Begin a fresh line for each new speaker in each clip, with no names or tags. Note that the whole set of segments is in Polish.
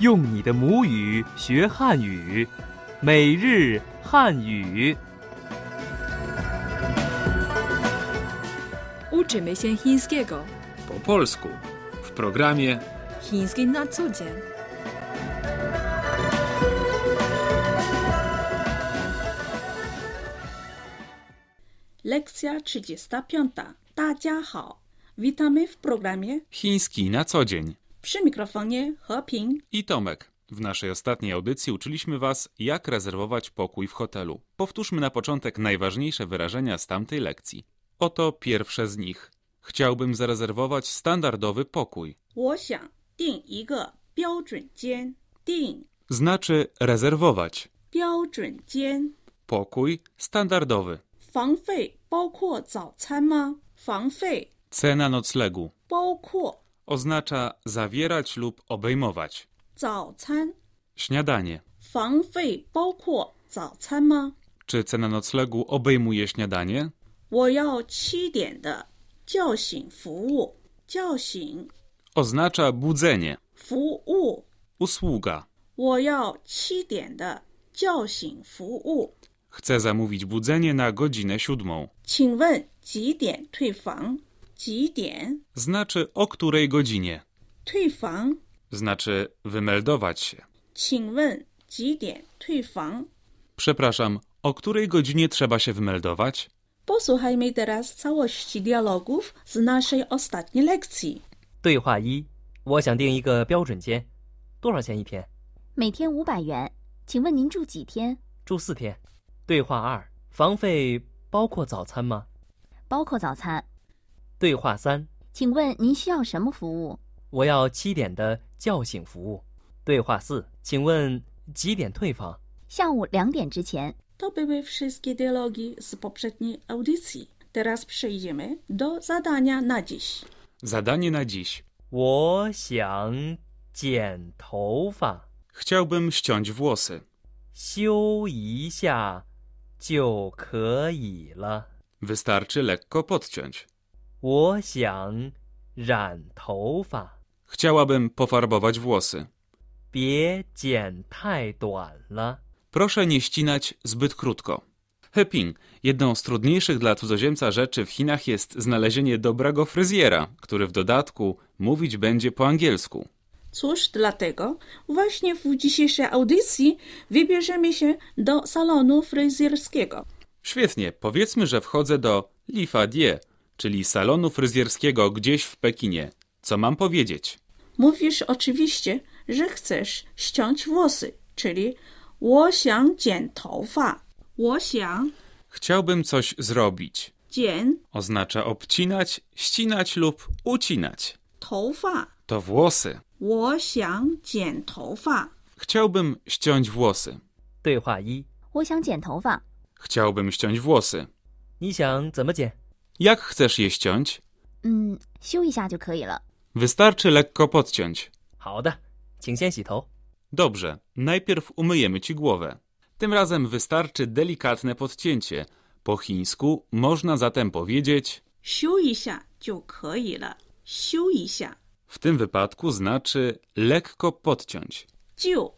用你的母语学汉语，每日汉语。
Uczymy się chińskiego.
po polsku w programie
Chiński na co dzień.
Lekcja 35. 大家好，witamy w programie
Chiński na co dzień
przy mikrofonie Heping.
i Tomek. W naszej ostatniej audycji uczyliśmy Was, jak rezerwować pokój w hotelu. Powtórzmy na początek najważniejsze wyrażenia z tamtej lekcji. Oto pierwsze z nich. Chciałbym zarezerwować standardowy pokój.
我想订一个标准间，订
Znaczy rezerwować.
标准间
Pokój standardowy.
房费包括早餐吗？房费
Cena noclegu
包括
oznacza zawierać lub obejmować.
早餐，
Śniadanie.
房费包括早餐吗？
Czy cena noclegu obejmuje śniadanie?
我要七点的叫醒服务，叫醒
Oznacza budzenie.
服务，
Usługa.
我要七点的叫醒服务。
Chcę zamówić budzenie na godzinę siódmą.
请问几点退房？几点
Znaczy o której godzinie?
退房？
Znaczy wymeldować się.
请问几点退房
Przepraszam, o której godzinie trzeba się wymeldować?
？Posłuchajmy teraz całości dialogów z naszej ostatniej lekcji.
对话一：我想订一个标准间，多少钱一天？
每天五百元，请问您住几天？
住四天。对话二：房费包括早餐吗？
包括早餐。
对话三：
请问您需要什么服务？
我要七点的叫醒服务。对话四：请问几点退房？
下午两点之前。
To były wszystkie dialogi z poprzedniej audycji. Teraz przejdziemy do zadania na dziś.
Zadanie na dziś.
我想剪头发，
Chciałbym ściąć włosy.
修一下就可以了。
Wystarczy lekko podciąć.
我想染头发，
Chciałabym pofarbować włosy.
别剪太短了。
Proszę nie ścinać zbyt krótko. Heping. Jedną z trudniejszych dla cudzoziemca rzeczy w Chinach jest znalezienie dobrego fryzjera, który w dodatku mówić będzie po angielsku.
Cóż, dlatego właśnie w dzisiejszej audycji wybierzemy się do salonu fryzjerskiego.
Świetnie, powiedzmy, że wchodzę do Li Fa Die, czyli salonu fryzjerskiego gdzieś w Pekinie. Co mam powiedzieć?
Mówisz oczywiście, że chcesz ściąć włosy, czyli 我想剪头发。我想
Chciałbym coś zrobić.
剪
Oznacza obcinać, ścinać lub ucinać.
头发。
To włosy.
我想剪头发。
Chciałbym ściąć włosy.
对话一：
我想剪头发，
Chciałbym ściąć włosy.
你想怎么剪？
Jak chcesz je ściąć?
嗯，修一下就可以了。
Wystarczy lekko podciąć.
好的，请先洗头。
Dobrze, najpierw umyjemy ci głowę. Tym razem wystarczy delikatne podcięcie. Po chińsku można zatem powiedzieć
修一下就可以了。修一下
W tym wypadku znaczy lekko podciąć.
就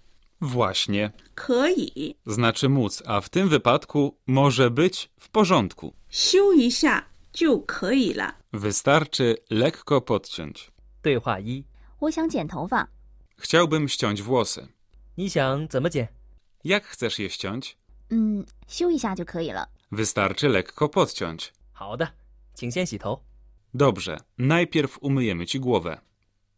Właśnie,
可以，
znaczy móc, a w tym wypadku może być w porządku.
修一下就可以了。
Wystarczy lekko podciąć.
对话一：
我想剪头发，
Chciałbym ściąć włosy.
你想怎么剪？
Jak chcesz je ściąć?
嗯，修一下就可以了。
Wystarczy lekko podciąć.
好的，请先洗头。
Dobrze, najpierw umyjemy ci głowę.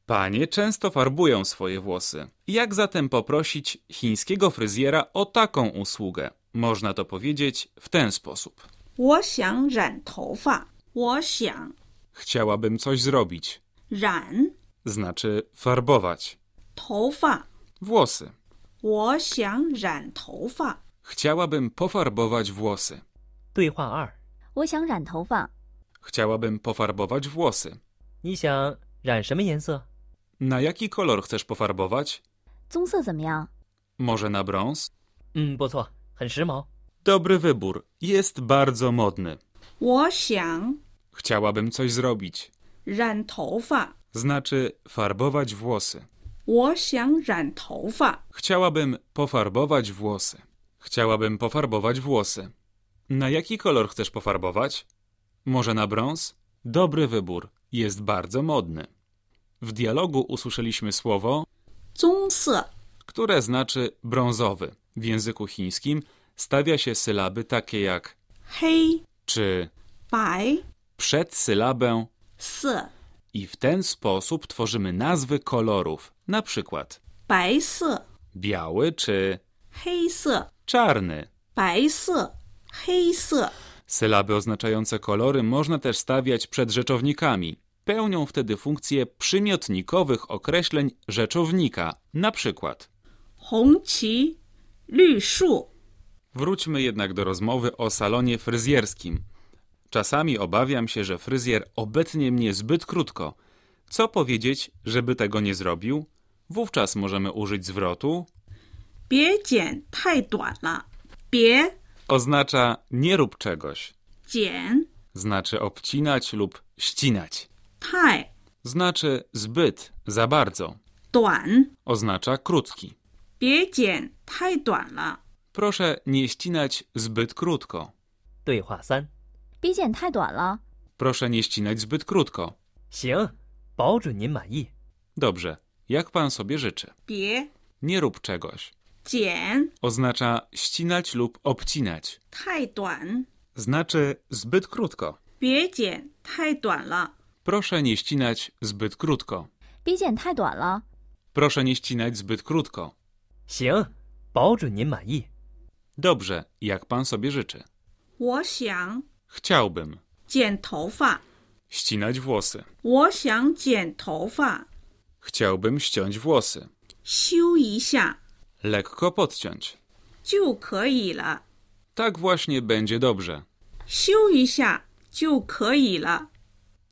Panie często farbują swoje włosy. Jak zatem poprosić chińskiego fryzjera o taką usługę? Można to powiedzieć w ten sposób.
我想染头发。我想
Chciałabym coś zrobić.
染
znaczy farbować.
头发。
Włosy.
我想染头发。
Chciałabym pofarbować włosy.
对话二：
我想染头发，
Chciałabym pofarbować włosy.
你想染什么颜色？
Na jaki kolor chcesz pofarbować?
棕色怎么样？
Może na brąz?
嗯，不错，很时髦。
Dobry wybór. Jest bardzo modny.
我想
Chciałabym coś zrobić.
染头发。
Znaczy farbować włosy.
我想染头发。
Chciałabym pofarbować włosy. Chciałabym pofarbować włosy. Na jaki kolor chcesz pofarbować? Może na brąz? Dobry wybór. Jest bardzo modny. W dialogu usłyszeliśmy słowo,
棕色、
które znaczy brązowy. W języku chińskim stawia się sylaby takie jak
黑、
czy
白
przed sylabę
色、
i w ten sposób tworzymy nazwy kolorów. Na przykład
白色、
biały czy
黑色、
czarny.
白色、黑色。
Sylaby oznaczające kolory można też stawiać przed rzeczownikami. Pełnią wtedy funkcję przymiotnikowych określeń rzeczownika, na przykład.
红旗、绿树、
Wróćmy jednak do rozmowy o salonie fryzjerskim. Czasami obawiam się, że fryzjer obetnie mnie zbyt krótko. Co powiedzieć, żeby tego nie zrobił? Wówczas możemy użyć zwrotu.
别剪太短了，别
Oznacza nie rób czegoś.
剪
Znaczy obcinać lub ścinać.
太
Znaczy zbyt, za bardzo.
短，
Oznacza krótki.
别剪太短了。
Proszę nie ścinać zbyt krótko.
对话三：
别剪太短了，
Proszę nie ścinać zbyt krótko.
行，保准您满意。
Dobrze, jak pan sobie życzy.
别
Nie rób czegoś.
剪
Oznacza ścinać lub obcinać.
太短，
Znaczy zbyt krótko.
别剪太短了。
Proszę nie ścinać zbyt krótko.
别剪太短了，
Proszę nie ścinać zbyt krótko.
行，保准您满意。
Dobrze, jak pan sobie życzy.
我想
Chciałbym
剪头发，
ścinać włosy.
我想剪头发，
Chciałbym ściąć włosy.
修一下
Lekko podciąć.
就可以了，
Tak właśnie będzie dobrze.
修一下就可以了。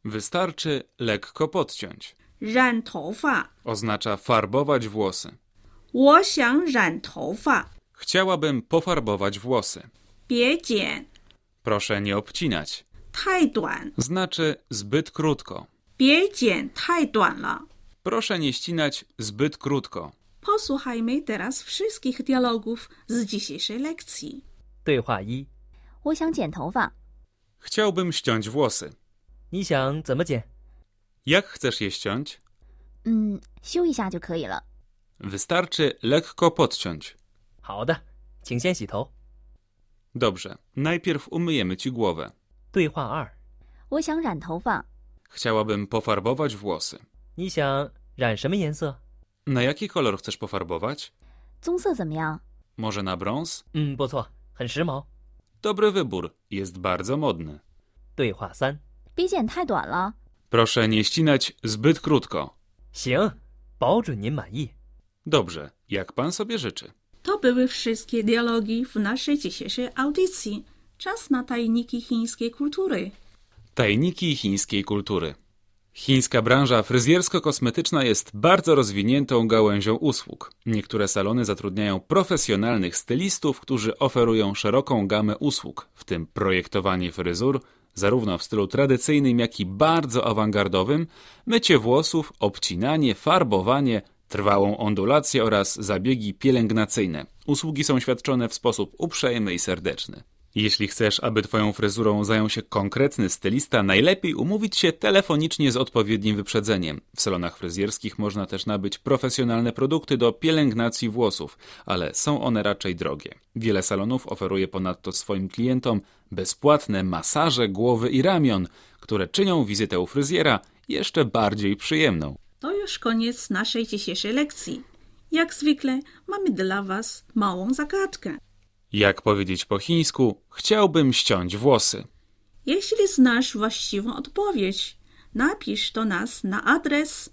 Wystarczy lekko podciąć.
染头发，
Oznacza farbować włosy.
我想染头发，
Chciałabym pofarbować włosy.
别剪
Proszę nie obcinać.
太短，
Znaczy zbyt krótko.
别剪太短了。
Proszę nie ścinać zbyt krótko.
Posłuchajmy teraz wszystkich dialogów z dzisiejszej lekcji.
对话一：
我想剪头发，
Chciałbym ściąć włosy.
你想怎么剪？
Jak chcesz je ściąć?
嗯，修一下就可以了，
Wystarczy lekko podciąć.
好的，请先洗头。
Dobrze, najpierw umyjemy ci głowę.
对话二：
我想染头发，
Chciałabym pofarbować włosy.
你想染什么颜色？
Na jaki kolor chcesz pofarbować?
棕色怎么样？
Może na brąz?
嗯，不错，很时髦。
Dobry wybór, jest bardzo modny.
对话三：
别剪太短了，
Proszę nie ścinać zbyt krótko.
行，保准您满意。
Dobrze, jak pan sobie życzy.
To były wszystkie dialogi w naszej dzisiejszej audycji. Czas na tajniki chińskiej kultury.
Tajniki chińskiej kultury. Chińska branża fryzjersko-kosmetyczna jest bardzo rozwiniętą gałęzią usług. Niektóre salony zatrudniają profesjonalnych stylistów, którzy oferują szeroką gamę usług, w tym projektowanie fryzur, zarówno w stylu tradycyjnym, jak i bardzo awangardowym, mycie włosów, obcinanie, farbowanie, trwałą ondulację oraz zabiegi pielęgnacyjne. Usługi są świadczone w sposób uprzejmy i serdeczny. Jeśli chcesz, aby Twoją fryzurą zajął się konkretny stylista, najlepiej umówić się telefonicznie z odpowiednim wyprzedzeniem. W salonach fryzjerskich można też nabyć profesjonalne produkty do pielęgnacji włosów, ale są one raczej drogie. Wiele salonów oferuje ponadto swoim klientom bezpłatne masaże głowy i ramion, które czynią wizytę u fryzjera jeszcze bardziej przyjemną.
To już koniec naszej dzisiejszej lekcji. Jak zwykle mamy dla Was małą zagadkę.
Jak powiedzieć po chińsku, chciałbym ściąć włosy.
Jeśli znasz właściwą odpowiedź, napisz do nas na adres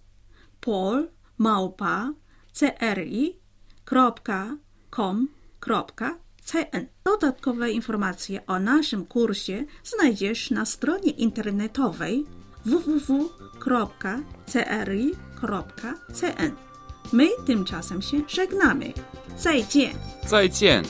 polmałpa.cri.com.cn. Dodatkowe informacje o naszym kursie znajdziesz na stronie internetowej www.cri.cn. My tymczasem się żegnamy. 再见。
Zajcien!